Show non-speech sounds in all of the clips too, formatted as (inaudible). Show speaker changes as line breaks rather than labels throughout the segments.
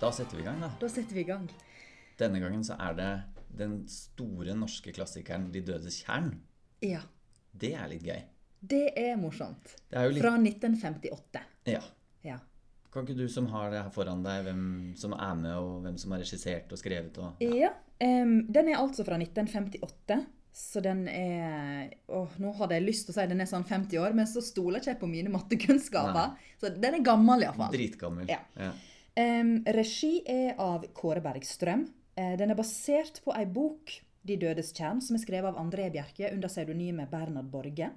Da setter vi i gang, da.
Da setter vi i gang.
Denne gangen så er det den store norske klassikeren 'De dødes kjern'.
Ja.
Det er litt gøy.
Det er morsomt.
Det er jo litt
Fra 1958.
Ja.
Ja.
Kan ikke du som har det her foran deg, hvem som er med, og hvem som har regissert og skrevet og
ja. em, den er altså fra 1958. Så den er åh, Nå hadde jeg lyst til å si den er sånn 50 år, men så stoler ikke jeg på mine mattekunnskaper. Så den er gammel, iallfall.
Dritgammel.
Ja. Um, regi er av Kåre Bergstrøm. Eh, den er basert på ei bok, 'De dødes kjern', som er skrevet av André Bjerke under pseudonymet Bernhard Borge.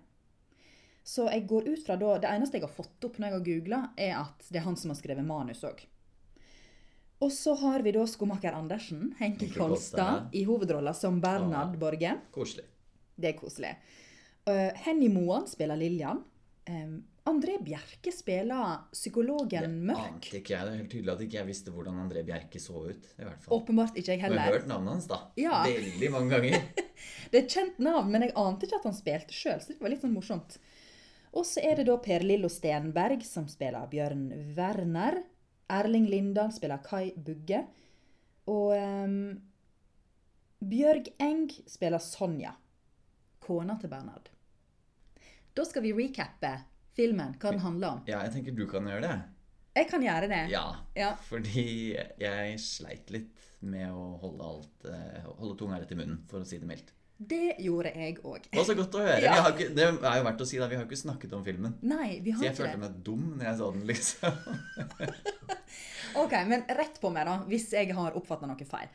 Så jeg går ut fra da, Det eneste jeg har fått opp når jeg har googla, er at det er han som har skrevet manus òg. Og så har vi da skomaker Andersen, Henki
Henki Kolstad.
Kolstad, i hovedrolla som Bernhard
Ja.
Borge.
Koselig.
Det er koselig. Eh, Henny Moan spiller Lillian. Em, André Bjerke spiller psykologen Mørk.
Ante ikke jeg. Det er helt tydelig at ikke jeg visste hvordan André Bjerke så ut. i hvert fall.
Åpenbart ikke jeg
Men jeg har
heller.
hørt navnet hans, da.
Ja.
Veldig mange ganger.
Det er et kjent navn, men jeg ante ikke at han spilte sjøl, så det var litt sånn morsomt. Og så er det da Per Lillo Stenberg som spiller Bjørn Werner. Erling Lindahl spiller Kai Bugge. Og ehm, Bjørg Eng spiller Sonja, kona til Bernhard. Da skal vi recappe filmen, hva den handler om.
Ja, jeg tenker du kan gjøre det.
Jeg kan gjøre det.
Ja.
Ja.
Fordi jeg sleit litt med å holde, alt, eh, holde tunga rett i munnen, for å si det mildt.
Det gjorde jeg òg.
Det var så godt å høre.
Ja.
Vi har ikke, det er jo verdt å si, da. Vi har jo ikke snakket om filmen.
Nei, vi
Så
har
jeg
ikke
følte
det.
meg dum når jeg så den, liksom. (laughs)
Ok, men rett på meg da, hvis jeg har oppfattet noe feil.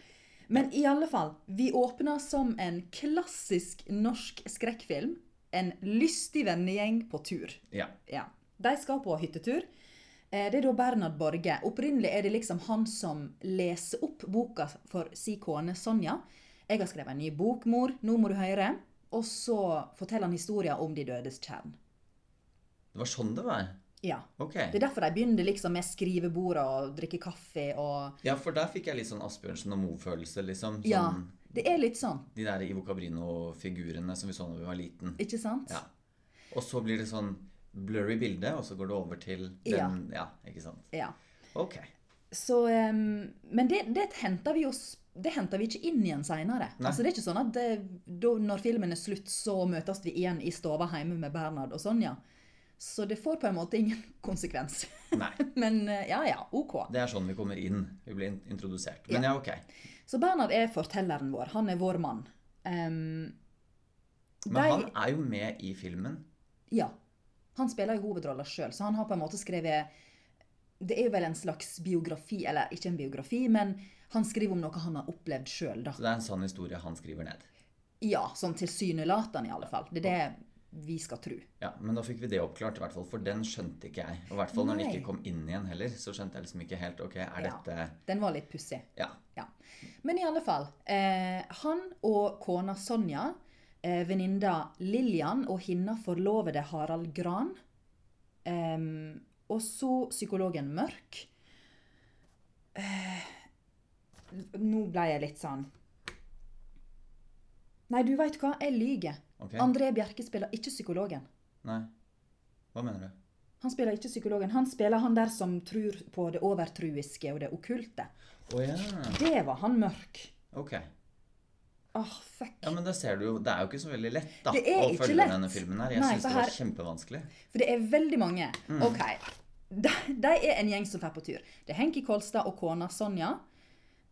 Men i alle fall, vi åpner som en klassisk norsk skrekkfilm. En lystig vennegjeng på tur.
Ja.
Ja. De skal på hyttetur. Eh, Det er da Bernhard Borge. Opprinnelig er det liksom han som leser opp boka for si kone Sonja. Jeg har skrevet en ny bok, mor. Nå må du høre. Og så forteller han historien om de dødes kjern.
Det var sånn det var.
Ja.
Ok.
Det er derfor de begynner liksom med skrivebordet og drikke kaffe og
Ja, for der fikk jeg litt sånn Asbjørnsen og Moe-følelse, liksom. Sånn,
Ja. Det er litt sånn.
De der Ivo Cabrino-figurene som vi så da vi var liten.
Ikke sant?
Ja. Og så blir det sånn blurry bilde, og så går det over til den Ja, ikke sant.
Ja.
Ok.
Så, ehm, men det, det henter vi oss det henter vi ikke inn igjen seinere.
Nei.
Altså, det er ikke sånn at det, da, når filmen er slutt, så møtes vi igjen i stua hjemme med Bernhard og Sonja. Så det får på en måte ingen (laughs) konsekvens.
Nei.
Men eh, ja ja, OK.
Det er sånn vi kommer inn. Vi blir in- introdusert. Men ja,
Ja.
ok.
Så Bernhard er fortelleren vår. Han er vår mann. Ehm,
Men han
de-
er jo med i filmen.
Ja. Han spiller jo hovedrolla sjøl, så han har på en måte skrevet Det er jo vel en slags biografi, eller ikke en biografi, men han skriver om noe han har opplevd sjøl, da.
Så det er en sann historie han skriver ned.
Ja, sånn tilsynelatende i alle fall. Det er det vi skal tro.
Ja, Men da fikk vi det oppklart, i hvert fall, for den skjønte ikke jeg. Og i hvert fall når den
Nei.
ikke kom inn igjen heller, så skjønte jeg liksom ikke helt Ok, er
Ja.
dette
Den var litt pussig.
Ja.
Ja. Men i alle fall. Eh, han og kona Sonja, eh, venninna Lillian og hennes forlovede Harald Gran, ehm, og så psykologen Mørk eh, Nå ble jeg litt sånn Nei, du veit hva, jeg lyver.
Ok?
André Bjerke spiller ikke psykologen.
Nei. Hva mener du?
Han spiller ikke psykologen. Han spiller han der som tror på det overtruiske og det okkulte.
Å ja.
Det var han mørk.
Ok.
Åh, fuck.
Ja, men da ser du jo Det er jo ikke så veldig lett da,
Det er
å
ikke
følge
lett.
denne filmen her. Jeg
Nei,
syns
for
det var
her-
kjempevanskelig.
For det er veldig mange. OK. De, de er en gjeng som drar på tur. Det er Henki Kolstad og kona Sonja.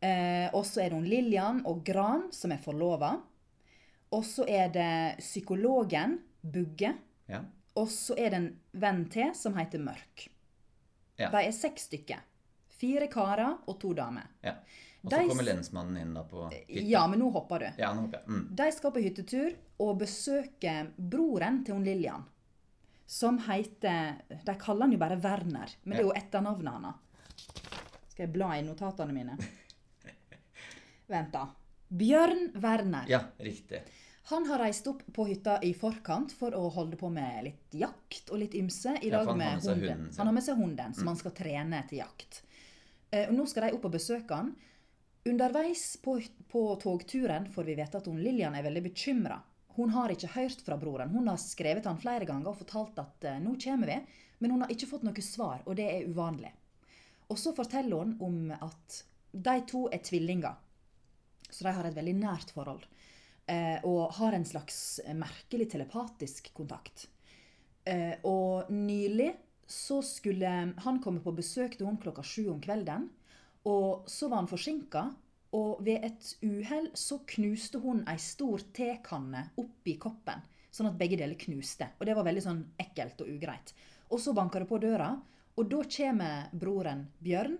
Eh, og så er det hun Lillian og Gran, som er forlova. Og så er det psykologen Bugge.
Ja.
Og så er det en venn til som heter Mørk.
Ja.
De er seks stykker. Fire karer og to damer.
ja. Og så
De-
kommer lensmannen inn da på hytta.
Ja, men nå hopper du.
Ja, nå håper jeg. Mm.
De skal på hyttetur og besøke broren til hun Lillian. Som heter De kaller han jo bare Werner, men det er jo etternavnet hans. Skal jeg bla i notatene mine? Vent, da. Bjørn Werner.
Ja, riktig.
Han har reist opp på hytta i forkant for å holde på med litt jakt og litt ymse i
Ja,
lag
for han har med
med
seg
hunden.
hunden Mm. sin.
Han har med seg hunden, som han skal trene til jakt. Eh, og nå skal de opp og besøke han. Underveis på, på togturen får vi vite at hun Lillian er veldig bekymra. Hun har ikke hørt fra broren. Hun har skrevet han flere ganger og fortalt at eh, nå kommer vi, men hun har ikke fått noe svar, og det er uvanlig. Og så forteller hun om at de to er tvillinger, så de har et veldig nært forhold. eh, Og har en slags merkelig telepatisk kontakt. Eh, Og nylig så skulle han komme på besøk til hun klokka sju om kvelden. Og så var han forsinka, og ved et uhell så knuste hun ei stor tekanne oppi koppen. Sånn at begge deler knuste. Og det var veldig sånn ekkelt og ugreit. Og så banker det på døra, og da kommer broren Bjørn,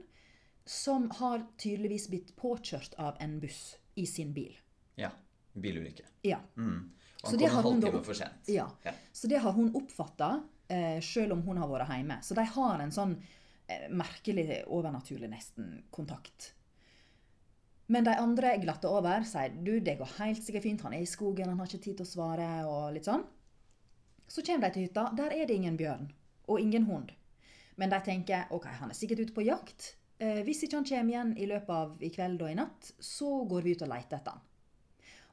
som har tydeligvis blitt påkjørt av en buss i sin bil.
Ja. Bilulykke.
Ja.
Mm.
Så
Og han
det
kom en
hadde hun da
halvtime
opp-
for sent.
Ja.
Ja.
Så det har hun oppfatta, eh, sjøl om hun har vært hjemme. Så de har en sånn eh, merkelig, overnaturlig nesten kontakt. Men de andre glatter over, sier du, det går helt sikkert fint, han er i skogen, han har ikke tid til å svare, og litt sånn. Så kommer de til hytta, der er det ingen bjørn, og ingen hund. Men de tenker, ok, han er sikkert ute på jakt. Eh, hvis ikke han kommer igjen i løpet av i kveld og i natt, så går vi ut og leter etter han.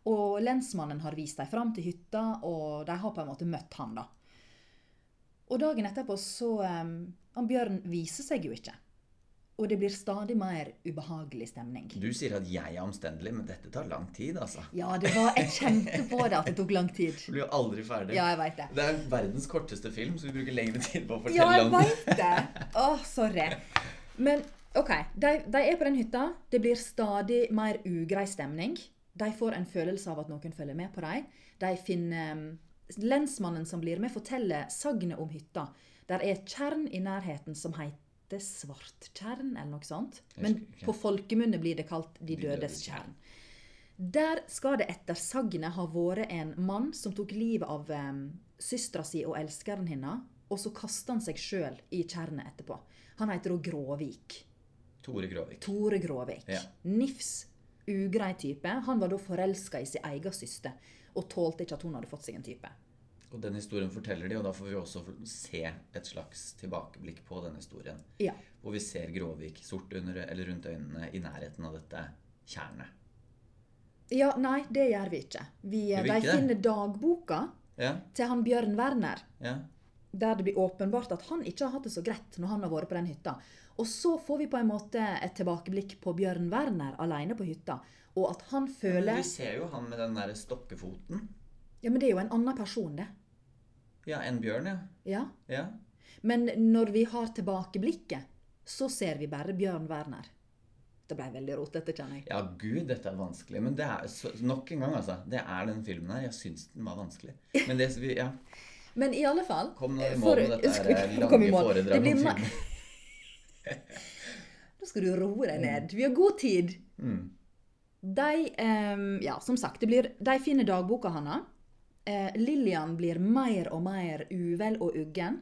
Og lensmannen har vist dem fram til hytta, og de har på en måte møtt han, da. Og dagen etterpå så em, Han Bjørn viser seg jo ikke. Og det blir stadig mer ubehagelig stemning.
Du sier at jeg er omstendelig, men dette tar lang tid, altså.
Ja, det var Jeg kjente på det at det tok lang tid.
Du blir jo aldri ferdig.
Ja, jeg veit det.
Det er verdens korteste film, så vi bruker lengre tid på å
Ja,
fortelle
jeg
om den.
veit det! Å, sorry. Men OK, de, de er på den hytta. Det blir stadig mer ugrei stemning. De får en følelse av at noen følger med på dem. De finner em, Lensmannen som blir med, forteller sagnet om hytta. Der er et tjern i nærheten som heter Svarttjern, eller noe sånt. Men
husker ikke.
på folkemunne blir det kalt De
De
dødes
dødes
tjern. Der skal det etter sagnet ha vært en mann som tok livet av um, søstera si og elskeren hennes, og så kasta han seg sjøl i tjernet etterpå. Han heter da Gråvik.
Tore Gråvik.
Tore Gråvik.
Ja.
Nifs ugrei type. Han var da forelska i sin egen søster og tålte ikke at hun hadde fått seg en type.
Og den historien forteller de, og da får vi også se et slags tilbakeblikk på den historien.
Ja.
Hvor vi ser Gråvik sort under eller rundt øynene i nærheten av dette tjernet.
ja, nei, det gjør vi ikke. Vi, eh,
Gjør vi
de
ikke det?
finner dagboka
Ja,
til han Bjørn Werner.
ja.
der det blir åpenbart at han ikke har hatt det så greit når han har vært på den hytta. Og så får vi på en måte et tilbakeblikk på Bjørn Werner alene på hytta, og at han
Men
føler
vi ser jo han med den der stokkefoten.
Ja, men det er jo en annen person, det.
Ja, en bjørn, ja.
Ja.
ja.
Men når vi har tilbakeblikket, så ser vi bare Bjørn Werner. Det ble veldig rotete, kjenner jeg.
Ja, gud, dette er vanskelig. Men det er så, nok en gang, altså. Det er den filmen her. Jeg syns den var vanskelig. Men det vi Ja,
Men i alle fall
kom nå i
eh,
mål
for-
med dette
Skal
her
vi- kom i
lange
mål. Det
foredraget
blir
om
ma-
filmen.
(laughs) Nå skal du roe deg ned. Vi har god tid.
Mm.
De, ehm, ja, som sagt, det blir, de finner dagboka hans. Eh, Lillian blir mer og mer uvel og uggen.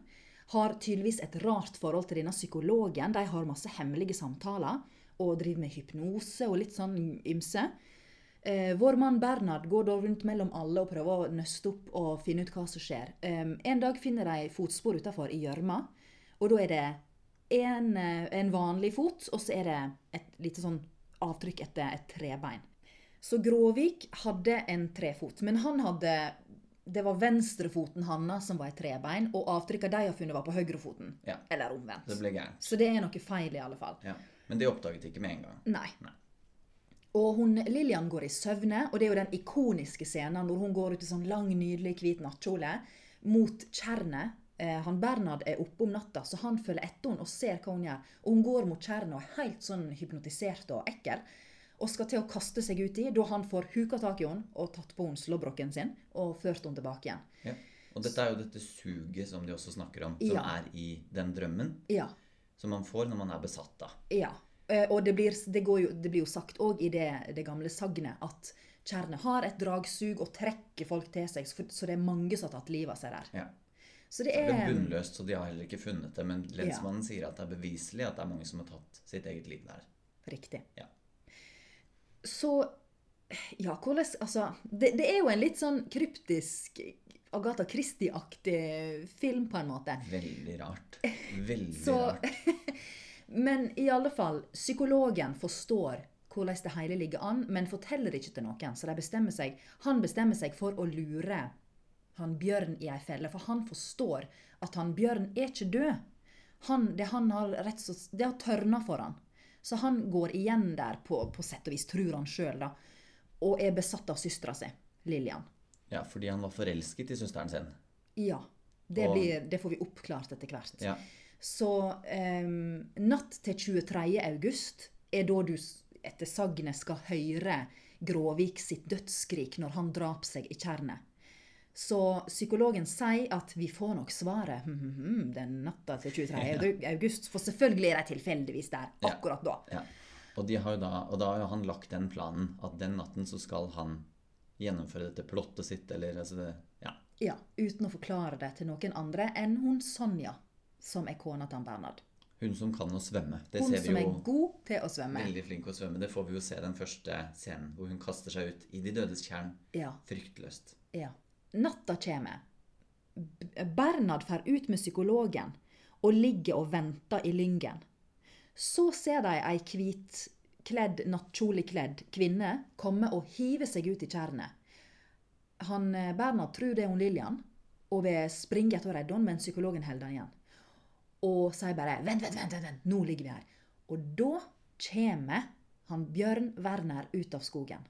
Har tydeligvis et rart forhold til denne psykologen. De har masse hemmelige samtaler og driver med hypnose og litt sånn ymse. Eh, vår mann Bernhard går da rundt mellom alle og prøver å nøste opp og finne ut hva som skjer. Em, en dag finner de fotspor utafor i gjørma, og da er det en, eh, en vanlig fot, og så er det et lite sånn avtrykk etter et trebein. Så Gråvik hadde en trefot, men han hadde Det var venstrefoten hans som var et trebein, og avtrykka de har funnet, var på høyrefoten.
Ja.
Eller omvendt.
Det ble gærent.
Så det er noe feil, i alle fall.
Ja. Men det oppdaget de ikke med en gang.
Nei.
Nei.
Og hun, Lillian går i søvne, og det er jo den ikoniske scenen når hun går ut i sånn lang, nydelig hvit nattkjole mot tjernet. Eh, han Bernhard er oppe om natta, så han følger etter henne og ser hva hun gjør. Og hun går mot tjernet og er helt sånn hypnotisert og ekkel. Og skal til å kaste seg ut i, da han får huka tak i henne og tatt på henne slåbroken sin og ført henne tilbake igjen.
Ja. Og dette er jo dette suget som de også snakker om, som
Ja.
er i den drømmen
Ja,
som man får når man er besatt av.
Ja. eh, Og det blir, det går jo, det blir jo sagt òg i det, det gamle sagnet at tjernet har et dragsug og trekker folk til seg, så- så det er mange som har tatt livet av seg der.
Ja.
Så det
Det er
er
bunnløst, så de har heller ikke funnet det. Men lensmannen sier at det er beviselig at det er mange som har tatt sitt eget liv der.
riktig.
Ja.
Så Ja, hvordan Altså, det, det er jo en litt sånn kryptisk Agatha Christie-aktig film, på en måte.
Veldig
(laughs)
rart. Veldig
Så-
rart.
Men i alle fall, psykologen forstår hvordan det hele ligger an, men forteller ikke til noen. Så de bestemmer seg, han bestemmer seg for å lure han Bjørn i ei felle, for han forstår at han Bjørn er ikke død. han, det han har rett og slett, det har tørna for han. Så han går igjen der på, på sett og vis, tror han sjøl, da. Og er besatt av søstera si, Lillian.
Ja, fordi han var forelsket i søsteren sin.
Ja. Det,
Og-
blir, det får vi oppklart etter hvert.
Ja.
Så em, natt til 23. august er da du s- etter sagnet skal høre Gråvik sitt dødsskrik når han drap seg i tjernet. Så psykologen sier at vi får nok svaret hm, hm, hm, den natta til 23. august. For selvfølgelig er de tilfeldigvis der
Ja.
akkurat da.
ja. Og, de har jo da, og da har jo han lagt den planen at den natten så skal han gjennomføre dette plottet sitt, eller altså det, Ja.
Ja, Uten å forklare det til noen andre enn hun Sonja, som er kona til han Bernhard.
Hun som kan å svømme. Det
Hun
ser vi
som er
jo.
god til å svømme.
Veldig flink å svømme. Det får vi jo se den første scenen hvor hun kaster seg ut i de dødes tjern.
Ja.
Fryktløst.
Ja. Natta kommer. B- Bernhard fer ut med psykologen og ligger og venter i lyngen. Så ser de ei hvitkledd, nattkjolekledd kvinne komme og hive seg ut i tjernet. Han, eh, Bernhard tror det er hun Lillian og vil springe etter å redde henne, men psykologen holder han igjen. Og sier bare 'vent, vent, vent, vent, vent, nå ligger vi her'. Og da kommer han Bjørn Werner ut av skogen.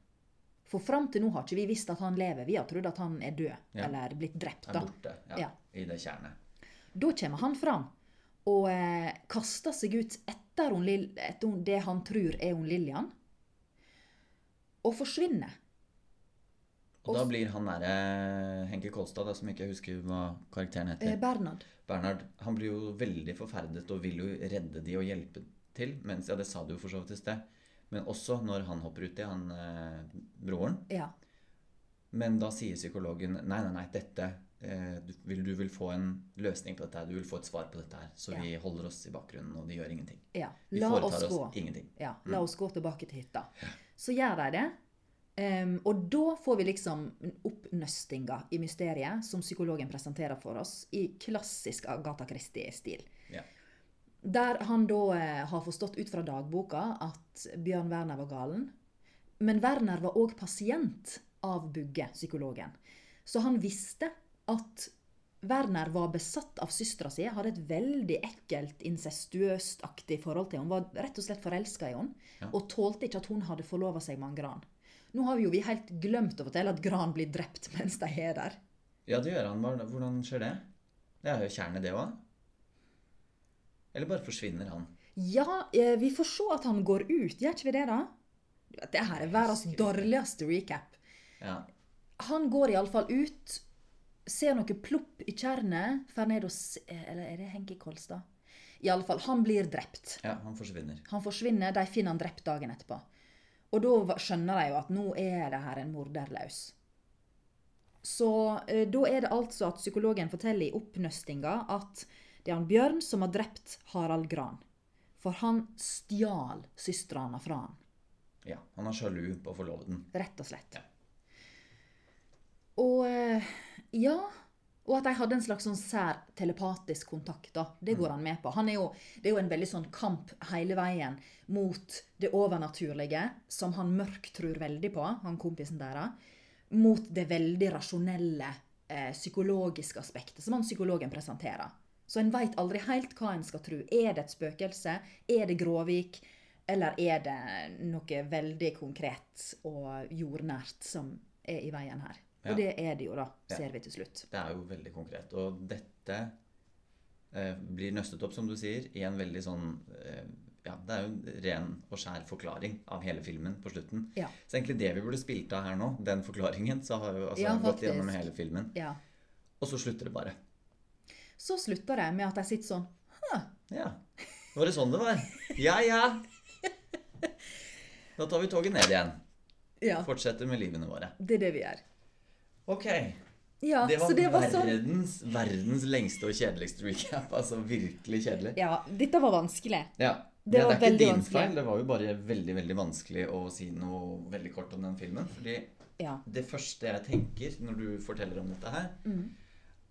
For fram til nå har ikke vi visst at han lever. Vi har trodd at han er død
Ja.
eller blitt drept.
Er
Da.
borte ja,
Ja.
i det tjernet.
Da kommer han fram og eh, kaster seg ut etter, hun, Lill- etter hun, det han tror er hun Lillian, og forsvinner.
Og da
Og-
blir han derre Henke Kolstad, da, som ikke jeg husker hva karakteren
Eh,
heter,
Bernhard.
Bernhard, han blir jo veldig forferdet og vil jo redde de og hjelpe til. Mens, ja, det sa du jo for så vidt i sted. Men også når han hopper uti, han eh, broren.
Ja.
Men da sier psykologen nei, nei, nei, dette eh, du, vil, du vil få en løsning på dette her. Du vil få et svar på dette her. Så
Ja.
vi holder oss i bakgrunnen, og de gjør ingenting.
ja.
Vi
La oss
foretar
gå.
oss ingenting.
Ja, la oss gå tilbake til hytta. Så gjør de det. Ehm, og da får vi liksom oppnøstinga i mysteriet som psykologen presenterer for oss i klassisk Agatha Christie-stil.
Ja.
Der han da eh, har forstått ut fra dagboka at Bjørn Werner var galen. Men Werner var òg pasient av Bugge, psykologen. Så han visste at Werner var besatt av søstera si, hadde et veldig ekkelt, incestuøst-aktig forhold til henne. Hun var rett og slett forelska i henne,
Ja.
og tålte ikke at hun hadde forlova seg med han Gran. Nå har vi jo vi helt glemt å fortelle at Gran blir drept (laughs) mens de er der.
Ja, det gjør han. Hva- Hvordan skjer det? Det er jo kjernet, det òg. Eller bare forsvinner han?
Ja, eh, vi får se at han går ut. Gjør ikke vi det, da? Det her er verdens
Husker ikke.
dårligste recap.
Ja.
Han går iallfall ut, ser noe plopp i tjernet, fer ned og s- eh, Eller er det Henki Kolstad? Iallfall, han blir drept.
ja, han forsvinner.
Han forsvinner, de finner han drept dagen etterpå. Og da va- skjønner de jo at nå er det her en morder løs. Så eh, da er det altså at psykologen forteller i oppnøstinga at det er han Bjørn som har drept Harald Gran. For han stjal søstrene fra han,
Ja, Han er sjalu på forloveden.
rett og slett.
Ja.
Og eh, ja Og at de hadde en slags sånn sær telepatisk kontakt. da. Det går han med på. Han er jo, det er jo en veldig sånn kamp hele veien mot det overnaturlige, som han mørk tror veldig på, han kompisen deres, mot det veldig rasjonelle, eh, psykologiske aspektet som han psykologen presenterer. Så en veit aldri helt hva en skal tro. Er det et spøkelse? Er det Gråvik? Eller er det noe veldig konkret og jordnært som er i veien her?
Ja.
Og det er det jo, da,
Ja.
ser vi til slutt.
Det er jo veldig konkret. Og dette eh, blir nøstet opp, som du sier, i en veldig sånn eh, Ja, det er jo en ren og skjær forklaring av hele filmen på slutten.
Ja.
Så egentlig det vi burde spilt av her nå, den forklaringen, så har jo altså,
Ja,
gått
faktisk.
gjennom hele filmen.
Ja.
Og så slutter det bare.
Så slutter det med at de sitter sånn «Hæ,
Ja. Var det sånn det var? Ja, ja. Da tar vi toget ned igjen.
Ja,
Fortsetter med livene våre.
det er det vi gjør.
Ok.
Ja,
Det var,
så det var sånn.
verdens, verdens lengste og kjedeligste recap. Altså virkelig kjedelig.
Ja, dette var vanskelig.
Ja.
Det var
det er
veldig
ikke din
vanskelig.
feil. Det var jo bare veldig veldig vanskelig å si noe veldig kort om den filmen. Fordi
Ja.
det første jeg tenker når du forteller om dette her,
Mm.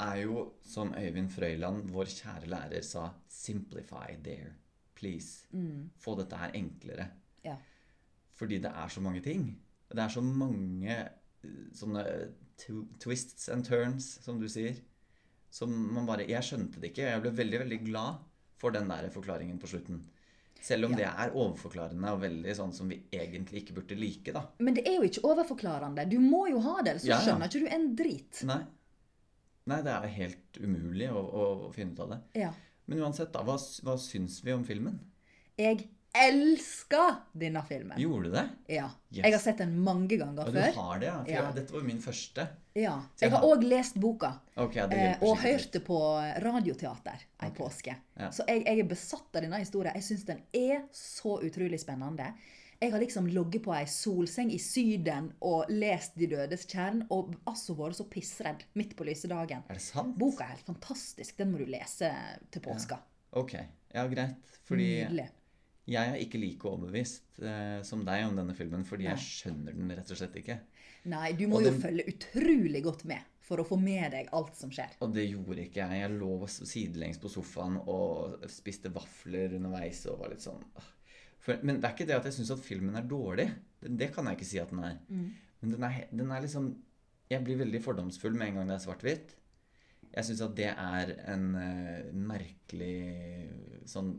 er jo som Øyvind Frøyland, vår kjære lærer, sa Simplify there, please.
Mm.
Få dette her enklere.
Ja.
Fordi det er så mange ting. Det er så mange eh, sånne eh, tw- twists and turns, som du sier. Som man bare Jeg skjønte det ikke. Jeg ble veldig, veldig glad for den der forklaringen på slutten. Selv om det er overforklarende og veldig sånn som vi egentlig ikke burde like, da.
Men det er jo ikke overforklarende. Du må jo ha det, ellers så
Ja, ja.
skjønner ikke du en drit.
Nei. Nei, det er helt umulig å, å finne ut av det.
Ja.
Men uansett, da. Hva, s- hva syns vi om filmen?
Jeg elsker denne filmen.
Gjorde du det?
Ja.
Yes.
Jeg har sett den mange ganger
Ja, du
før.
har det, ja. For
Ja.
ja. dette var min første.
Ja.
Så
Jeg
jeg
har
har-
òg lest boka.
Ok, ja, det
Eh,
hjelper
og
sikkert litt.
hørte på radioteater ei påske.
Ja.
Så jeg, jeg er besatt av denne historien. Jeg syns den er så utrolig spennende. Jeg har liksom ligget på ei solseng i Syden og lest De dødes kjern, og altså vært så pissredd midt på lyse dagen.
Er det sant?
Boka er helt fantastisk. Den må du lese til påska.
Ok, ja greit. Fordi
Nydelig.
jeg er ikke like overbevist eh, som deg om denne filmen, fordi
Nei.
jeg skjønner den rett og slett ikke.
Nei, du må
og
jo
den-
følge utrolig godt med for å få med deg alt som skjer.
Og det gjorde ikke jeg. Jeg lå sidelengs på sofaen og spiste vafler underveis og var litt sånn «Åh». For, Men det er ikke det at jeg syns at filmen er dårlig. Det, det kan jeg ikke si at den er.
Mm.
Men den er, he- den er liksom Jeg blir veldig fordomsfull med en gang det er svart-hvitt. Jeg syns at det er en eh, merkelig sånn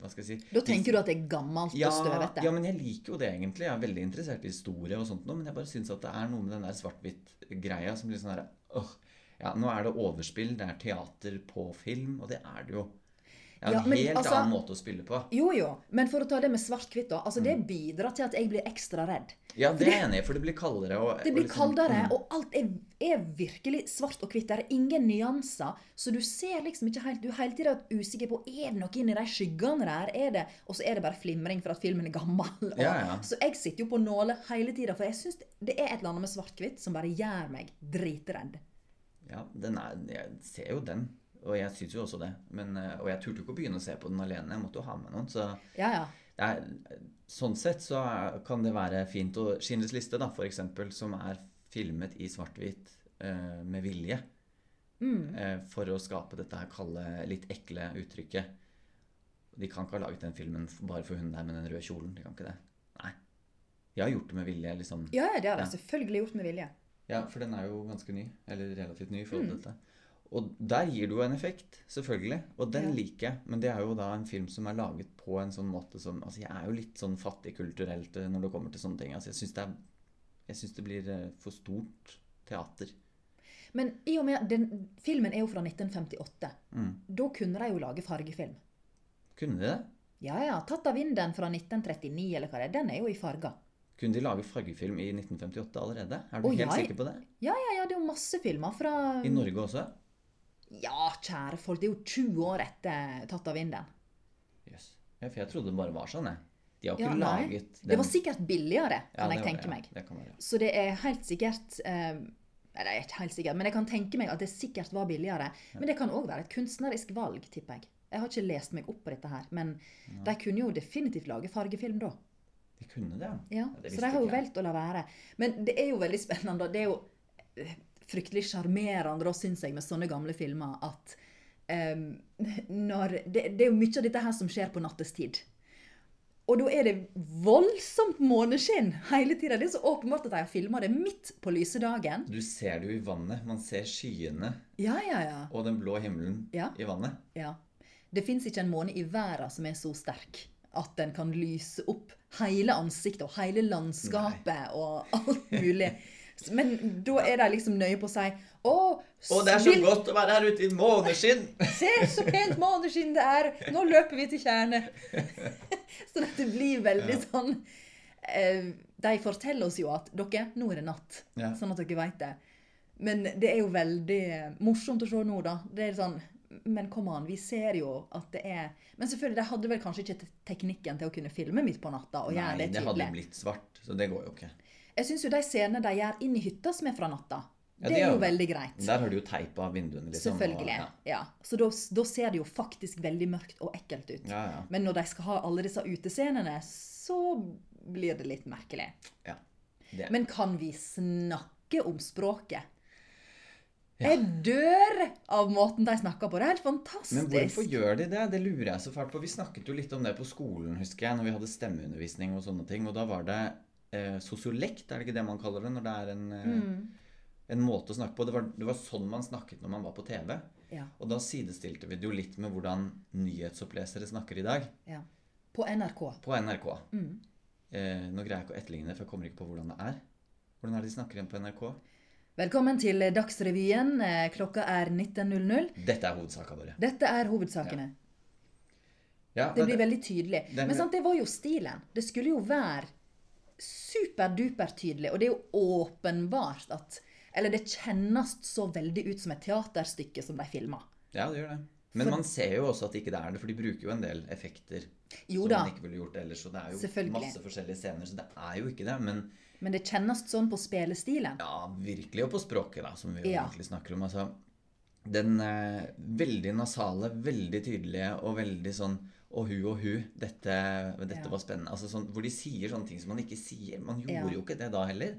Hva skal jeg si
Da tenker du at det er gammelt
ja,
og støvete.
ja, men jeg liker jo det egentlig. Jeg er veldig interessert i historie og sånt noe, men jeg bare syns at det er noe med den der svart-hvitt-greia som blir sånn herre Åh. Ja, nå er det overspill, det er teater på film, og det er det jo. Det er jo
Ja,
en
men
helt
altså-
annen måte å spille på.
Jo, jo. Men for å ta det med svart-hvitt, da. Altså,
Mm.
det bidrar til at jeg blir ekstra redd.
Ja, det er jeg enig i, for det blir kaldere og
Det blir
og liksom-
kaldere, og alt er, er virkelig svart og hvitt. Det er ingen nyanser. Så du ser liksom ikke helt Du er hele tida usikker på er det noe inni de skyggene der. Er det, og så er det bare flimring for at filmen er gammel. Og,
Ja, ja.
Så jeg sitter jo på nåle hele tida, for jeg syns det er et eller annet med svart-hvitt som bare gjør meg dritredd.
Ja, den er, jeg ser jo den, og jeg syns jo også det. Men, eh, og jeg turte jo ikke å begynne å se på den alene, jeg måtte jo ha med noen. så...
Ja, ja.
det er, sånn sett så er, kan det være fint å Schindlers liste, da, for eksempel, som er filmet i svart-hvitt eh, med vilje.
Mm.
eh, for å skape dette her kalde, litt ekle uttrykket. De kan ikke ha laget den filmen f- bare for hun der med den røde kjolen. De kan ikke det. Nei. De har gjort det med vilje, liksom.
Ja, ja, det har jeg
Ja.
selvfølgelig gjort med vilje.
Ja, for den er jo ganske ny. Eller relativt ny i forhold
Mm.
til dette. Og der gir det jo en effekt, selvfølgelig. Og den
Ja.
liker jeg. Men det er jo da en film som er laget på en sånn måte som Altså, jeg er jo litt sånn fattig kulturelt eh, når det kommer til sånne ting. Altså, jeg syns det er Jeg syns det blir eh, for stort teater.
Men i og med at den, filmen er jo fra 1958,
Mm.
da kunne de jo lage fargefilm.
Kunne de det?
Ja, ja. Tatt av vinden fra 1939, eller hva det er. Den er jo i farger.
Kunne de lage fargefilm i 1958 allerede? Er
Å,
du helt
ja, jeg- Um.
sikker på det?
Ja, ja, ja, det er jo masse filmer fra
I Norge også?
Ja, kjære folk, det er jo 20 år etter 'Tatt av vinden'.
Jøss. Ja, for jeg trodde det bare var sånn, jeg. De har jo
Ja,
ikke
nei.
laget den.
Det var sikkert billigere,
Ja,
kan
det
jeg
var det,
tenke
ja.
meg.
Det kan være. ja.
Så det er helt sikkert eh, Nei, det er ikke helt sikkert, men jeg kan tenke meg at det sikkert var billigere. Men det kan òg være et kunstnerisk valg, tipper jeg. Jeg har ikke lest meg opp på dette her, men de kunne jo definitivt lage fargefilm da.
De kunne det, ja.
Ja, så
det visste
de har jo
ikke jeg.
valgt å la være. Men det er jo veldig spennende, og det er jo eh, fryktelig sjarmerende, da, syns jeg, med sånne gamle filmer at em, når det, det er jo mye av dette her som skjer på nattestid. Og da er det voldsomt måneskinn hele tida. Det er så åpenbart at de har filma det midt på lyse dagen.
Du ser det jo i vannet. Man ser skyene
Ja, ja, ja.
og den blå himmelen
Ja.
i vannet.
ja. Det fins ikke en måne i verden som er så sterk at den kan lyse opp hele ansiktet og hele landskapet og alt
(laughs)
mulig. Men da er de liksom nøye på å si Å,
Og det er så godt å være her ute i måneskinn!
se så pent måneskinn det er! Nå løper vi til (laughs) tjernet! så dette blir veldig sånn eh, De forteller oss jo at dere, nå er det natt.
Ja.
Sånn at dere vet det. Men det er jo veldig morsomt å se nå, da. Det er sånn Men kom an, vi ser jo at det er Men selvfølgelig, de hadde vel kanskje ikke te- teknikken til å kunne filme midt på natta (laughs) og gjøre
Nei,
det
det hadde
tydelig.
jo blitt svart, så det går jo ikke.
Jeg syns jo de scenene de gjør inn i hytta som er fra natta,
Ja,
det,
det
er
er
jo
jo-
veldig greit.
Der har du jo teip av vinduene. Liksom,
Selvfølgelig.
Og,
ja. Så da, da ser det jo faktisk veldig mørkt og ekkelt ut.
ja. Ja,
Men når de skal ha alle disse utescenene, så blir det litt merkelig.
ja. ja. Det.
Men kan vi snakke om språket? Jeg dør av måten de snakker på. Det er helt fantastisk.
Men hvorfor gjør de det? Det lurer jeg så fælt på. Vi snakket jo litt om det på skolen, husker jeg, når vi hadde stemmeundervisning og sånne ting. Og da var det eh, sosiolekt, er det ikke det man
Mm.
kaller det når det er en, eh, en måte å snakke på? Det var, det var sånn man snakket når man var på TV.
Ja.
Og da sidestilte vi det jo litt med hvordan nyhetsopplesere snakker i dag
ja. På NRK.
på NRK.
Mm.
Eh, nå greier jeg ikke å etterligne det, for jeg kommer ikke på hvordan det er. Hvordan er det de snakker igjen på NRK?
Velkommen til Dagsrevyen. Eh, Klokka er 19.00.
Dette er hovedsaka vår.
Dette er hovedsakene.
Ja,
Det blir
men-
veldig tydelig.
Den-
Men sant, det var jo stilen. Det skulle jo være superduper tydelig, og det er jo åpenbart at Eller det kjennes så veldig ut som et teaterstykke som de filma.
ja, det gjør det. Men
For-
man ser jo også at det ikke er det, for de bruker jo en del effekter
Jo
som
da,
man ikke ville gjort ellers. Og det er jo
Selvfølgelig.
masse forskjellige scener, så det er jo ikke det. Men
men det kjennes sånn på spillestilen.
ja, virkelig, og på språket, da, som vi jo
Ja.
egentlig snakker om. Altså, den eh, veldig nasale, veldig tydelige og veldig sånn og hu og hu. Dette, dette
Ja.
var spennende. Altså, sånn, hvor de sier sånne ting som man ikke sier. Man gjorde
Ja.
jo ikke det da heller.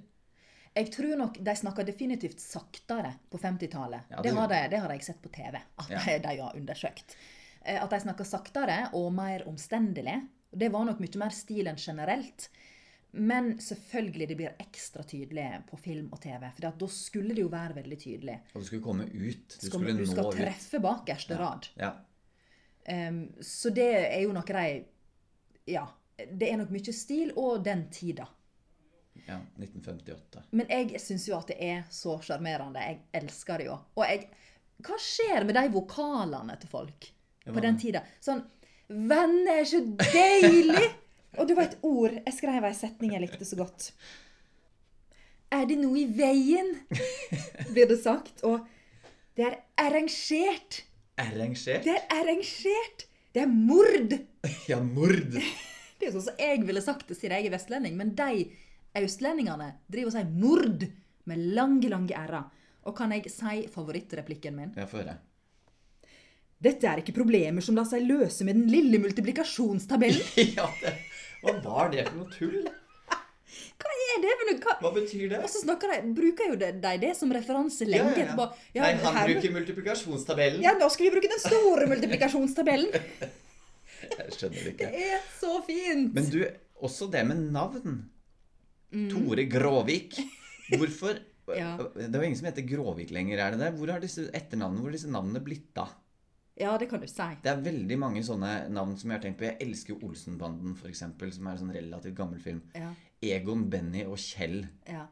Jeg tror nok de snakka definitivt saktere på 50-tallet.
Ja, det
det, har
gjorde
de- det har jeg sett på TV, at
Ja.
de, de har undersøkt. Eh, At de snakka saktere og mer omstendelig. Det var nok mye mer stilen generelt. Men selvfølgelig det blir ekstra tydelig på film og TV. For da skulle det jo være veldig tydelig.
Og du skulle komme ut. Du
Skal,
skulle
du
nå
skal
ut.
treffe bakerste rad.
Ja.
Em, så det er jo noe de Ja. Det er nok mye stil og den tida.
Ja, 1958.
Men jeg syns jo at det er så sjarmerende. Jeg elsker det jo. Og jeg Hva skjer med de vokalene til folk
Ja,
på
hva
den tida? Sånn 'Venner er så deilig!' Og det var et ord jeg skrev ei setning jeg likte så godt. 'Er det noe i veien?' blir det sagt. Og 'Det er arrangert'.
Arrangert?
Det er arrangert! Det er mord!
Ja, mord!
Det er jo sånn som jeg ville sagt det siden jeg er vestlending, men de østlendingene driver og sier mord med lange, lange r-er. Og kan jeg si favorittreplikken min?
Ja, få høre. (laughs)
Dette er ikke problemer som lar seg løse med den lille multiplikasjonstabellen.
(laughs) Ja, det, hva var det for noe tull?
Hva er det for noe? Hva?
Hva betyr det?
Og så snakker de, bruker jo de de det som referanse lenge etterpå. Ja,
Nei, han
her-
bruker multiplikasjonstabellen.
Ja, nå skal vi bruke den store
(laughs)
multiplikasjonstabellen.
Jeg skjønner det
Det
ikke.
er så fint!
Men du, også det med navn. Tore Gråvik. Hvorfor
Mm. (laughs) Ja.
Det er jo ingen som heter Gråvik lenger, er det det? Hvor har disse etternavnene hvor har disse navnene blitt av?
Ja, det kan du si.
Det er veldig mange sånne navn som jeg har tenkt på. Jeg elsker jo Olsenbanden, f.eks., som er en sånn relativt gammel film.
Ja,
Egon, Benny og Kjell.
ja.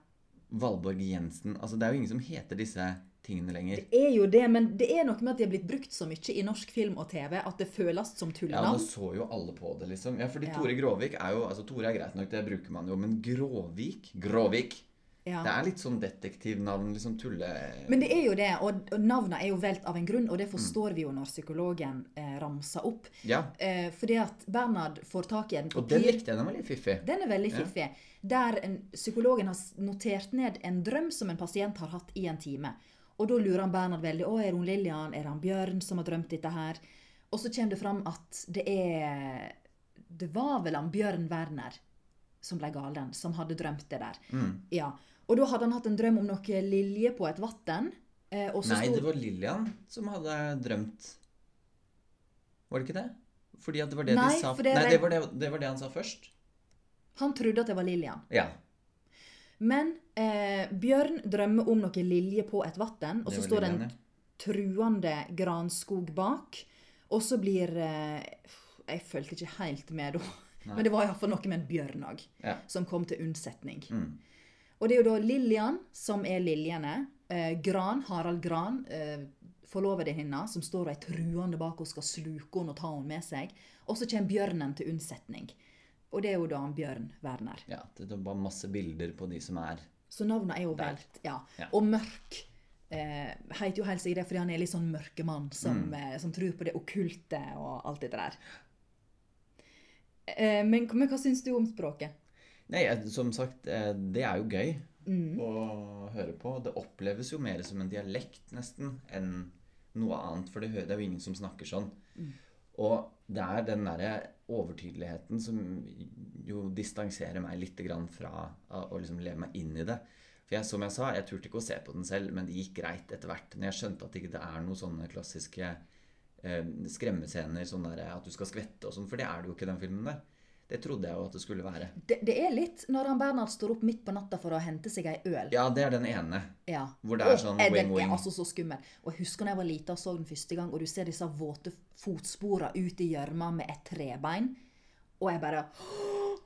Valborg Jensen Altså, det er jo ingen som heter disse tingene lenger.
Det er jo det, men det er noe med at de har blitt brukt så mye i norsk film og TV at det føles som
Ja, nå
tullenavn.
så jo alle på det, liksom. Ja, fordi
Ja.
Tore Gråvik er jo Altså, Tore er greit nok, det bruker man jo, men Gråvik Gråvik!
Ja.
Det er litt sånn detektivnavn, liksom tulle...
Men det er jo det, og og navnene er jo valgt av en grunn, og det forstår vi jo når psykologen eh, ramser opp.
Ja.
Eh, fordi at Bernhard får tak i en
Og den
papir.
likte jeg, den var litt fiffig.
Den er veldig
Ja.
fiffig. Der en, psykologen har s- notert ned en drøm som en pasient har hatt i en time. Og da lurer han Bernhard veldig. Å, er det hun Lillian? Er det han Bjørn som har drømt dette her? Og så kommer det fram at det er Det var vel han Bjørn Werner som ble galen, som hadde drømt det der.
Mm.
Ja. Og da hadde han hatt en drøm om noe lilje på et vann. Eh, og så
Nei,
sto
det var Lillian som hadde drømt Var det ikke det? Fordi at det var det
Nei,
de sa
for det er
Nei,
det-
det var det, det var det han sa først.
Han trodde at det var Lillian.
Ja.
Men eh, Bjørn drømmer om noe lilje på et vann, og
det
så
var
står det
Lillian,
en
ja.
truende granskog bak. Og så blir eh, Jeg følte ikke helt med da.
Nei.
Men det var iallfall noe med en bjørn òg,
Ja.
som kom til unnsetning.
Mm.
Og det er jo da Lillian som er liljene. Eh, Gran, Harald Gran, eh, forlovede hennes, som står og er truende bak og skal sluke henne og ta henne med seg. Og så kommer bjørnen til unnsetning. Og det er jo da han Bjørn Werner.
ja. Det det var masse bilder på de som er
Så navnet er jo
Der.
valgt. Ja.
Ja.
Og Mørk eh, heter jo helt sikkert det fordi han er litt sånn mørkemann som,
Mm.
eh, som tror på det okkulte og alt dette der. Eh, men, men hva syns du om språket?
Nei, jeg- som sagt, eh, det er jo gøy
Mm.
å høre på. Det oppleves jo mer som en dialekt nesten enn noe annet, for det hø- det er jo ingen som snakker sånn. Og det er den derre overtydeligheten som jo distanserer meg litt grann fra å å liksom leve meg inn i det. For jeg, som jeg sa, jeg turte ikke å se på den selv, men det gikk greit etter hvert. Når jeg skjønte at det ikke er noen sånne klassiske eh, skremmescener, sånn der at du skal skvette og sånn, for det er det jo ikke i den filmen der. Det trodde jeg jo at det skulle være.
Det, det er litt når han Bernhard står opp midt på natta for å hente seg ei øl.
Ja, det er den ene.
Ja.
Hvor det er
Åh,
sånn
er den-
wing-wing.
er altså så skummel. Og jeg husker da jeg var lita og så den første gang, og du ser disse våte fotsporene ut i gjørma med et trebein. Og jeg bare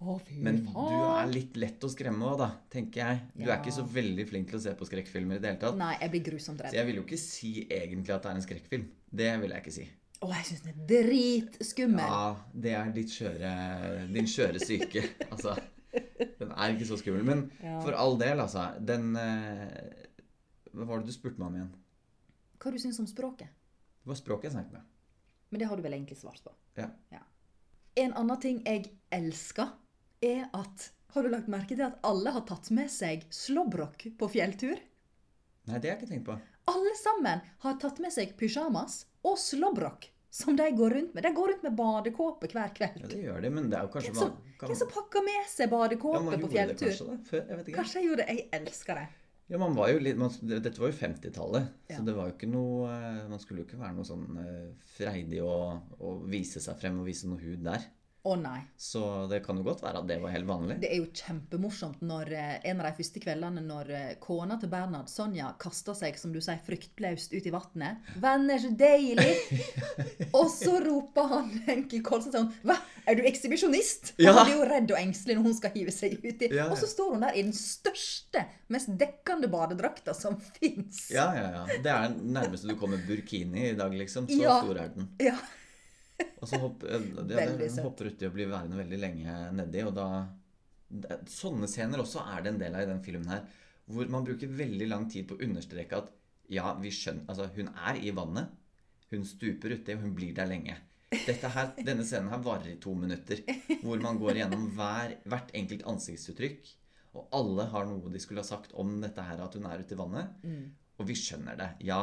Å, fy
Men du er
faen.
litt lett å skremme òg, da, tenker jeg. Du er
Ja.
ikke så veldig flink til å se på skrekkfilmer i det hele tatt.
Nei, jeg blir grusomt
Så
redd.
jeg vil jo ikke si egentlig at det er en skrekkfilm. Det vil jeg ikke si.
Å, jeg syns den er dritskummel.
Ja, det er ditt skjøre, din skjøre
(laughs)
syke. Altså, den er ikke så skummel. Men
Ja.
for all del, altså. Den eh, Hva var det du spurte meg om igjen?
Hva du syns om språket?
Det var språket jeg snakket med.
Men det har du vel egentlig svart på.
Ja.
En annen ting jeg elsker, er at Har du lagt merke til at alle har tatt med seg slåbrok på fjelltur?
Nei, det har jeg ikke tenkt på.
Alle sammen har tatt med seg pysjamas og slåbrok som de går rundt med. De går rundt med badekåpe hver kveld.
Ja, det gjør de, men det er jo kanskje
Hvem som,
van- kan-
hvem som pakker med seg
Ja,
badekåpe
man
på
gjorde det
fjelltur?
kanskje da, før, jeg vet ikke.
Kanskje jeg gjorde det. Jeg elsker det.
Ja, man var jo litt, man, Dette var jo 50-tallet,
Ja.
så det var jo ikke noe eh, Man skulle jo ikke være noe sånn eh, freidig og, og vise seg frem og vise noe hud der.
Å nei.
Så det kan jo godt være at det var helt vanlig.
Det er jo kjempemorsomt når eh, en av de første kveldene når eh, kona til Bernhard, Sonja, kaster seg som du sier, fryktløst ut i
(laughs)
vannet. 'Venn, er så deilig!' og så roper han (laughs) Henki Kolsen sånn 'Hva, er du ekshibisjonist?'
Ja.
Han blir jo redd og engstelig når hun skal hive seg uti.
Ja, ja.
Og så står hun der i den største, mest dekkende badedrakta som (laughs) fins.
Ja, ja, ja. Det er den nærmeste du kommer burkini i dag, liksom. Så
Ja.
stor er den.
Ja.
Og så hopp, eh, ja, det,
Veldig
den
søtt.
hopper uti og blir værende veldig lenge nedi, og da det- Sånne scener også er det en del av i den filmen her, hvor man bruker veldig lang tid på å understreke at ja, vi skjønner Altså, hun er i vannet, hun stuper uti, og hun blir der lenge. Dette her, denne scenen her varer i to minutter, hvor man går gjennom hver, hvert enkelt ansiktsuttrykk, og alle har noe de skulle ha sagt om dette her, at hun er ute i vannet.
Mm.
Og vi skjønner det. Ja,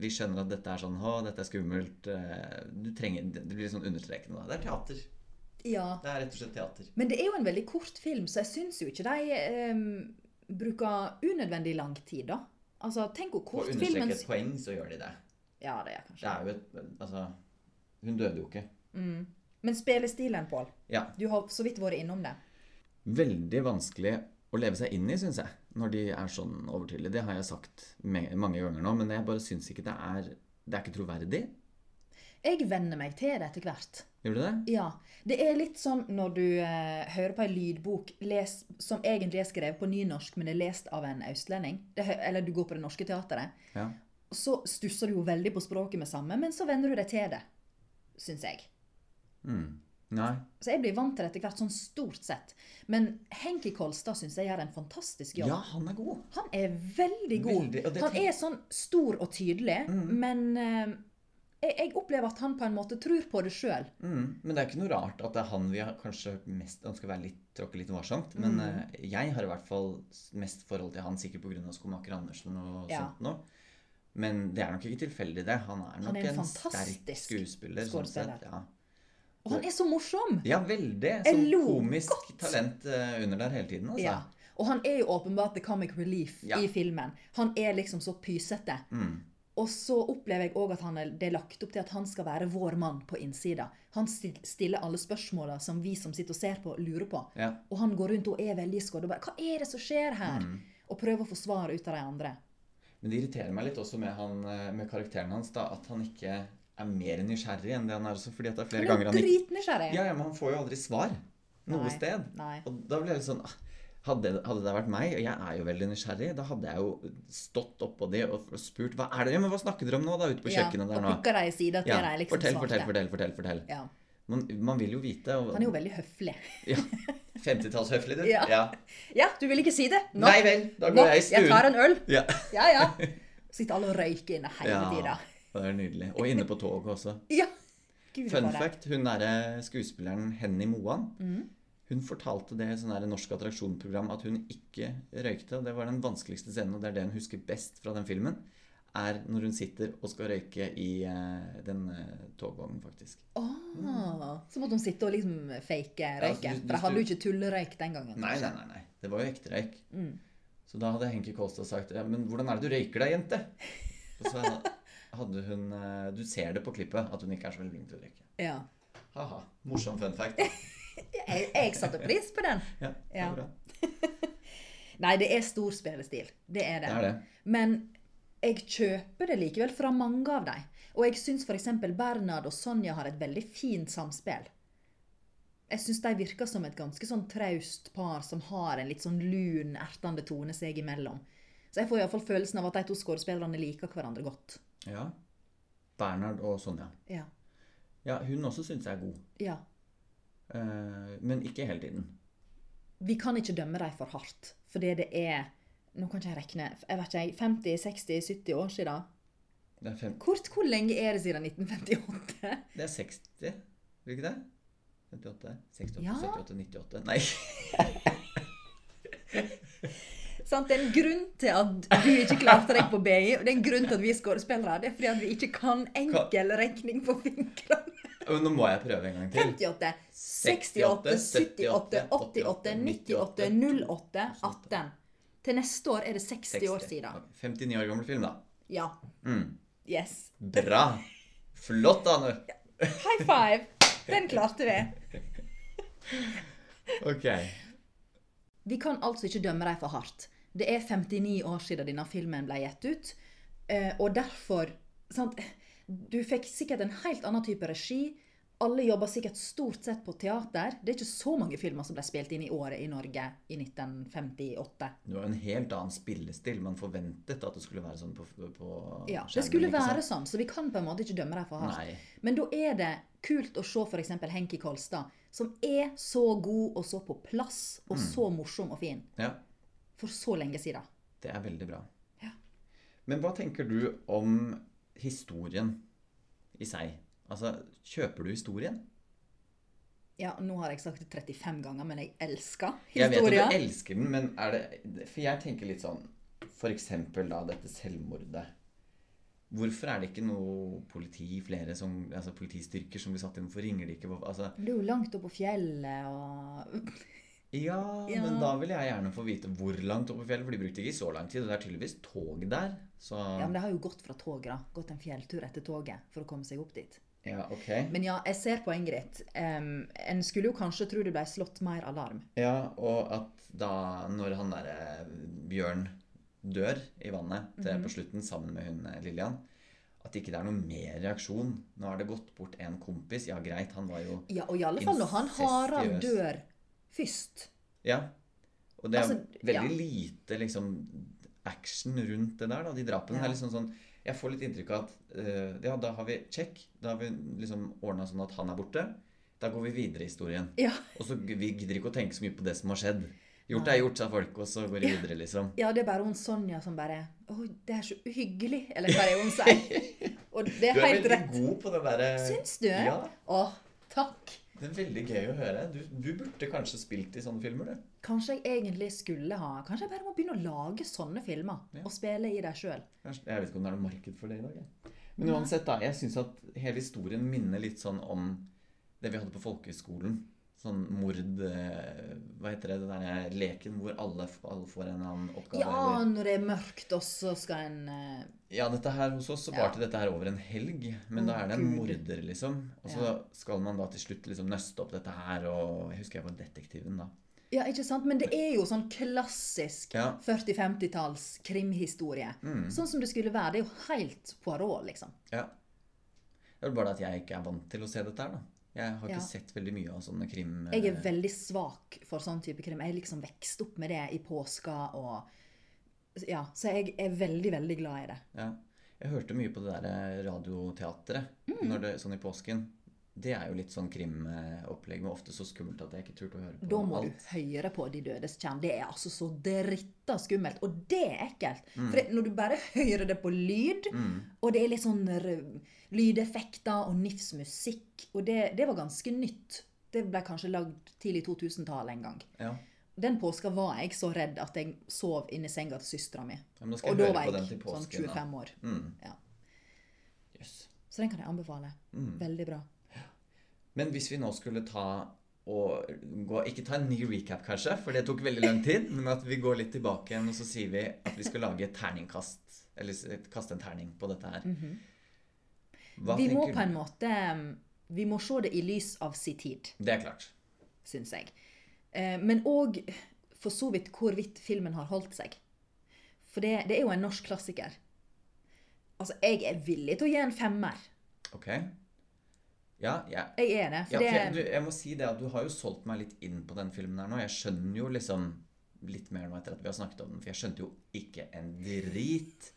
vi skjønner at dette er sånn Å, dette er skummelt. eh, Du trenger, det blir litt sånn understrekende. da. Det er teater.
ja.
Det er rett og slett teater.
Men det er jo en veldig kort film, så jeg syns jo ikke de em, bruker unødvendig lang tid, da. Altså, tenk hvor
For å
kort filmen
understreke et poeng, så gjør de det.
Ja, det er kanskje
Det er jo et Altså, hun døde jo ikke.
Men spillestilen, Pål.
Ja.
Du har så vidt vært innom det.
Veldig vanskelig å leve seg inn i, syns jeg, når de er sånn overtydelige. Det har jeg sagt me- mange ganger nå, men jeg bare syns ikke det er Det er ikke troverdig.
Jeg venner meg til det etter hvert.
Gjør du det?
Ja, Det er litt som når du eh, hører på ei lydbok les, som egentlig er skrevet på nynorsk, men er lest av en østlending. Det, hø- eller du går på Det Norske Teatret.
Ja.
Så stusser du jo veldig på språket med samme, men så venner du deg til det, syns jeg.
Mm. Nei.
Så jeg blir vant til det etter hvert, sånn stort sett. Men Henki Kolstad syns jeg gjør en fantastisk jobb.
Ja, han er god.
Han er veldig god.
Veldig, og det
han
tenk- Mm.
er sånn stor og tydelig, men eh, jeg, jeg opplever at han på en måte tror på det sjøl.
Mm, men det er ikke noe rart at det er han vi har kanskje hørt mest ønsker å være litt, tråkke litt varsomt.
Mm.
Men eh, jeg har i hvert fall s- mest forhold til han, sikkert pga. skomaker Andersen og
Ja.
sånt noe. Men det er nok ikke tilfeldig, det. Han er nok
er en
en, sterk
fantastisk
skuespiller. Sånn
skuespiller.
sett, ja.
Og han er så morsom!
ja, veldig.
Jeg
Sånn
lo
komisk
godt.
talent eh, under der hele tiden, altså.
Ja. Og han er jo åpenbart the comic relief
Ja.
i filmen. Han er liksom så pysete.
Mm.
Og så opplever jeg òg at han er, det er lagt opp til at han skal være vår mann på innsida. Han stil- stiller alle spørsmåla som vi som sitter og ser på, lurer på.
Ja.
Og han går rundt og er veldig skodd og bare 'Hva er det som skjer her?'
Mm.
Og prøver å få svar ut av de andre.
Men det irriterer meg litt også med, han, eh, med karakteren hans, da, at han ikke er mer nysgjerrig enn det han er også, fordi at det er
Han
flere
er
ganger
jo
han ikke
dritnysgjerrig.
Ja, ja, men han får jo aldri svar noe
Nei,
sted.
nei.
Og da ble jeg litt sånn ah, hadde, hadde det vært meg, og jeg er jo veldig nysgjerrig, da hadde jeg jo stått oppå de og og spurt hva er det, ja, men hva snakker dere om nå, da, ute på kjøkkenet der
og
nå?
plukker de i sida til
Ja,
de liksom
fortell,
svarte.
fortell, fortell, fortell, fortell.
Ja.
Man, man vil jo vite. Og,
Han er jo veldig høflig.
(laughs) ja, 50-tallshøflig, du.
Ja. (laughs) Ja, du vil ikke si det? Nå.
Nei vel, da går
Nå,
jeg i stuen.
Jeg tar en øl.
Ja.
Ja, ja.
(laughs)
Sitter alle og røyker inne hele tida.
ja, det er nydelig. Og inne på toget også.
Ja. Gud,
Fun
for det.
fact, hun derre skuespilleren Henny Moan, hun fortalte det i sånn derre norsk attraksjonprogram at hun ikke røykte. og Det var den vanskeligste scenen, og det er det hun husker best fra den filmen. Er når hun sitter og skal røyke i eh, den eh, togvognen, faktisk.
Ah, så måtte hun sitte og liksom fake
Ja,
røyken.
hvis- hvis
For jeg hadde
du-
jo ikke tullerøyk den gangen.
Nei, nei, nei. nei. Det var jo ekte røyk. Så da hadde Henki Kolstad sagt ja, 'Men hvordan er det du røyker deg, jente?' Og så hadde hun eh, Du ser det på klippet at hun ikke er så veldig flink til å røyke.
Ja.
Ha-ha. Morsom fun fact. da.
Jeg, jeg satte pris på den.
Ja, det
Ja.
er bra.
Nei, det er stor spillestil. Det er det.
Det er det.
Men jeg kjøper det likevel fra mange av dem. Og jeg syns f.eks. Bernhard og Sonja har et veldig fint samspill. Jeg syns de virker som et ganske sånn traust par som har en litt sånn lun, ertende tone seg imellom. Så jeg får iallfall følelsen av at de to skuespillerne liker hverandre godt.
Ja. Bernhard og Sonja.
Ja.
Ja, hun også syns jeg er god.
ja.
Eh, men ikke hele tiden.
Vi kan ikke dømme dem for hardt, fordi det er Nå kan ikke jeg regne. Jeg vet ikke, jeg, 50, 60, 70 år siden?
Det er, fem,
Kort, hvor lenge er det siden 1958?
det er 60, blir det ikke det? 58, 68,
Ja.
78, 98 Nei. (laughs)
Sant? Det er en grunn til at du ikke klarte deg på BI, og det er en grunn til at vi er skuespillere. Det er fordi at vi ikke kan enkel regning på fingrene.
Men nå må jeg prøve en gang til.
58, 68, 78, 88, 98, 08, 18. Til neste år er det 60 år
60.
siden.
Ok, 59 år gammel film, da.
Ja.
Mm.
Yes.
Bra! Flott, Ane.
High five! Den klarte vi.
Ok.
Vi kan altså ikke dømme dem for hardt. Det er 59 år siden denne filmen ble gitt ut, eh, og derfor sant? Du fikk sikkert en helt annen type regi. Alle jobber sikkert stort sett på teater. Det er ikke så mange filmer som ble spilt inn i året i Norge i 1958.
Det var jo en helt annen spillestil. Man forventet at det skulle være sånn på, på
Ja,
skjermen,
det skulle
ikke sant?
være sånn, så vi kan på en måte ikke dømme dem for hardt.
Nei.
Men da er det kult å se f.eks. Henki Kolstad, som er så god og så på plass
Mm.
og så morsom og fin
Ja,
for så lenge siden.
det er veldig bra.
Ja.
Men hva tenker du om historien i seg? Altså, kjøper du historien?
Ja, nå har jeg sagt det 35 ganger, men jeg elsker
Jeg vet
historier.
at du elsker den, men er det For jeg tenker litt sånn For eksempel da dette selvmordet. Hvorfor er det ikke noe politi, flere som, altså politistyrker som blir satt inn? Hvorfor ringer de ikke? Hvorfor- Altså,
Men Det er jo langt opp på fjellet og
ja,
Ja.
men da vil jeg gjerne få vite hvor langt opp på fjellet, for de brukte ikke så lang tid. Og det er tydeligvis tog der, så
Ja, men det har jo gått fra toget, da. Gått en fjelltur etter toget for å komme seg opp dit.
Ja, ok.
Men ja, jeg ser poenget ditt. Em, en skulle jo kanskje tro det ble slått mer alarm.
Ja, og at da når han der eh, Bjørn dør i vannet til,
Mhm.
på slutten sammen med hun eh, Lillian, at ikke det er noe mer reaksjon. Nå har det gått bort en kompis. Ja, greit, han var jo
Ja, og i alle fall når han Harald
Incestiøs.
dør først.
Ja. Og det er
Altså,
veldig lite liksom action rundt det der, da. De drapene. Det
Ja.
er liksom sånn Jeg får litt inntrykk av at eh, ja, da har vi check. Da har vi liksom ordna sånn at han er borte. Da går vi videre i historien.
Ja,
Og så vi gidder ikke å tenke så mye på det som har skjedd. Gjort er gjort, sa folk, og så går de videre, liksom.
ja, det er bare hun Sonja som bare Å, det er så uhyggelig! Eller hva er det hun sier?
(laughs)
Og det
Du
er
er
helt
veldig
rett.
god på det derre
Syns du?
Ja.
Å, takk.
Det er veldig gøy å høre. Du, du burde kanskje spilt i sånne filmer, du.
Kanskje jeg egentlig skulle ha Kanskje jeg bare må begynne å lage sånne filmer
Ja.
og spille i dem sjøl.
Kanskje- Jeg vet ikke om det er noe marked for det i dag. Jeg. Men uansett, da. Jeg syns at hele historien minner litt sånn om det vi hadde på folkehøyskolen. Sånn mord eh, Hva heter det? Den derre leken hvor alle, f- alle får en eller annen oppgave.
Ja,
Eller.
når det er mørkt, og så skal en eh,
ja, dette her hos oss så
Ja.
varte dette her over en helg. Men da er det en
Gud.
morder, liksom. Og så
Ja.
skal man da til slutt liksom nøste opp dette her, og jeg husker jeg var detektiven da.
Ja, ikke sant? Men det er jo sånn klassisk
Ja.
40-50-talls krimhistorie.
Mm.
Sånn som det skulle være. Det er jo helt Poirot, liksom.
Ja. Det er vel bare det at jeg ikke er vant til å se dette her, da. Jeg har ikke
Ja.
sett veldig mye av sånne krim...
Jeg er veldig svak for sånn type krim. Jeg er liksom vokst opp med det i påska og Ja, så jeg er veldig, veldig glad i det.
Ja. Jeg hørte mye på det der eh, radioteatret
Mm.
når det, sånn i påsken. Det er jo litt sånn krimopplegg, men ofte så skummelt at jeg ikke turte å høre på
Da må
alt.
du høre på De dødes kjern. Det er altså så dritta skummelt. Og det er ekkelt.
Mm.
For det- når du bare hører det på lyd, og det er litt sånn r- lydeffekter og nifsmusikk Og det, det var ganske nytt. Det ble kanskje lagd tidlig 2000-tallet en gang.
Ja.
Den påska var jeg så redd at jeg sov inni senga til søstera mi.
ja, men da skal
Og
jeg
da
høre
var
på den
jeg
til
sånn
påsken.
25 år.
da. Mm.
Ja.
Jøss. Mm.
Så den kan jeg anbefale. Veldig bra.
Men hvis vi nå skulle ta og gå, ikke ta en ny recap, kanskje, for det tok veldig lang tid, men at vi går litt tilbake igjen, og så sier vi at vi skal lage et terningkast, eller s- et- kaste en terning på dette her. Hva
Mhm. Vi må
tenker
på
du?
en måte um, Vi må se det i lys av si tid,
Det er klart.
syns jeg. Eh, Men òg for så vidt hvorvidt filmen har holdt seg. For det, det er jo en norsk klassiker. Altså, jeg er villig til å gi en femmer.
Ok. Ja, ja.
Jeg er det.
Ja,
For
for
det
jeg, du, jeg må si det at du har jo solgt meg litt inn på den filmen her nå. Jeg skjønner jo liksom litt mer nå etter at vi har snakket om den, for jeg skjønte jo ikke en drit.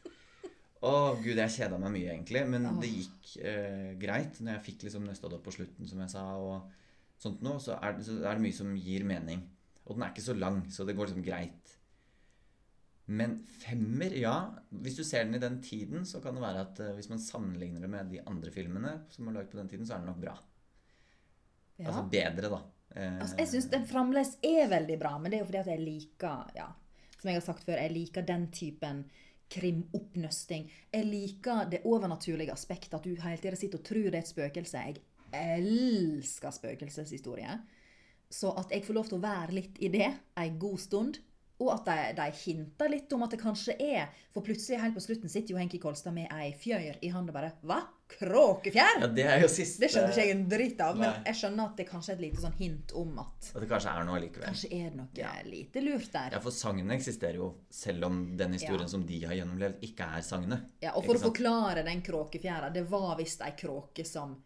Å gud, jeg kjeda meg mye egentlig, men det gikk eh, greit. Når jeg fikk liksom nøsta det opp på slutten, som jeg sa, og sånt nå, så er, det- så er det mye som gir mening. Og den er ikke så lang, så det går liksom greit. Men femmer, ja. Hvis du ser den i den tiden, så kan det være at eh, hvis man sammenligner det med de andre filmene som er laget på den tiden, så er den nok bra.
ja.
Altså bedre, da. Eh,
Altså, jeg syns den fremdeles er veldig bra, men det er jo fordi at jeg liker ja, Som jeg har sagt før, jeg liker den typen krimoppnøsting. Jeg liker det overnaturlige aspektet, at du hele tiden sitter og tror det er et spøkelse. Jeg elsker spøkelseshistorier. Så at jeg får lov til å være litt i det en god stund, og at de, de hinter litt om at det kanskje er For plutselig, helt på slutten, sitter jo Henki Kolstad med ei fjør i hånda bare Hva? Kråkefjær?
Eh, ja, det er jo siste
Det skjønte ikke jeg en dritt av, men
Nei.
jeg skjønner at det kanskje er et lite sånn hint om at
At det kanskje er noe likevel.
Kanskje er det noe
Ja.
lite lurt der.
Ja, for sangene eksisterer jo, selv om den historien
Ja.
som de har gjennomlevd, ikke er sangene.
Ja, og for å
Ikke sant?
forklare den kråkefjæra, det var visst ei kråke som,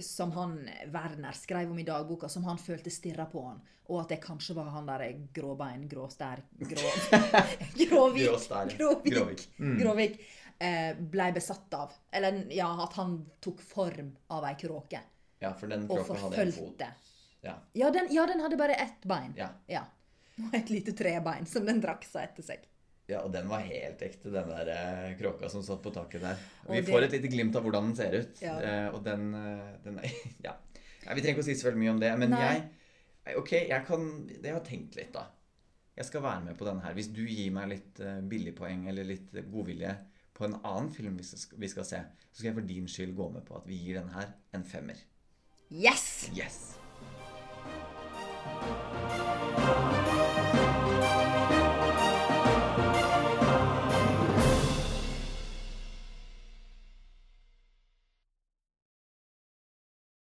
som han Werner skrev om i dagboka, som han følte stirra på han, og at det kanskje var han derre gråbein, gråstær, grå... (laughs) Gråvik.
Gråstær, ja.
Gråvik.
Gråvik.
Gråvik. eh, Blei besatt av. Eller ja, at han tok form av ei kråke.
Ja, for den
Og
kroppen hadde en fot.
forfølgte.
Ja.
Ja den, ja, den hadde bare ett bein.
Ja.
ja. Og et lite trebein som den drakk seg etter seg.
ja, og den var helt ekte, den der eh, kråka som satt på taket der.
Og
Vi
det-
får et lite glimt av hvordan den ser ut.
Ja.
eh, Og den, eh, den er, (laughs) ja. Nei, Vi trenger ikke å si så veldig mye om det, men
Nei.
jeg Nei, Ok, jeg kan Jeg har tenkt litt, da. Jeg skal være med på den her. Hvis du gir meg litt eh, billigpoeng eller litt eh, godvilje på en annen film vi skal, vi skal se, så skal jeg for din skyld gå med på at vi gir den her en femmer.
Yes!
Yes!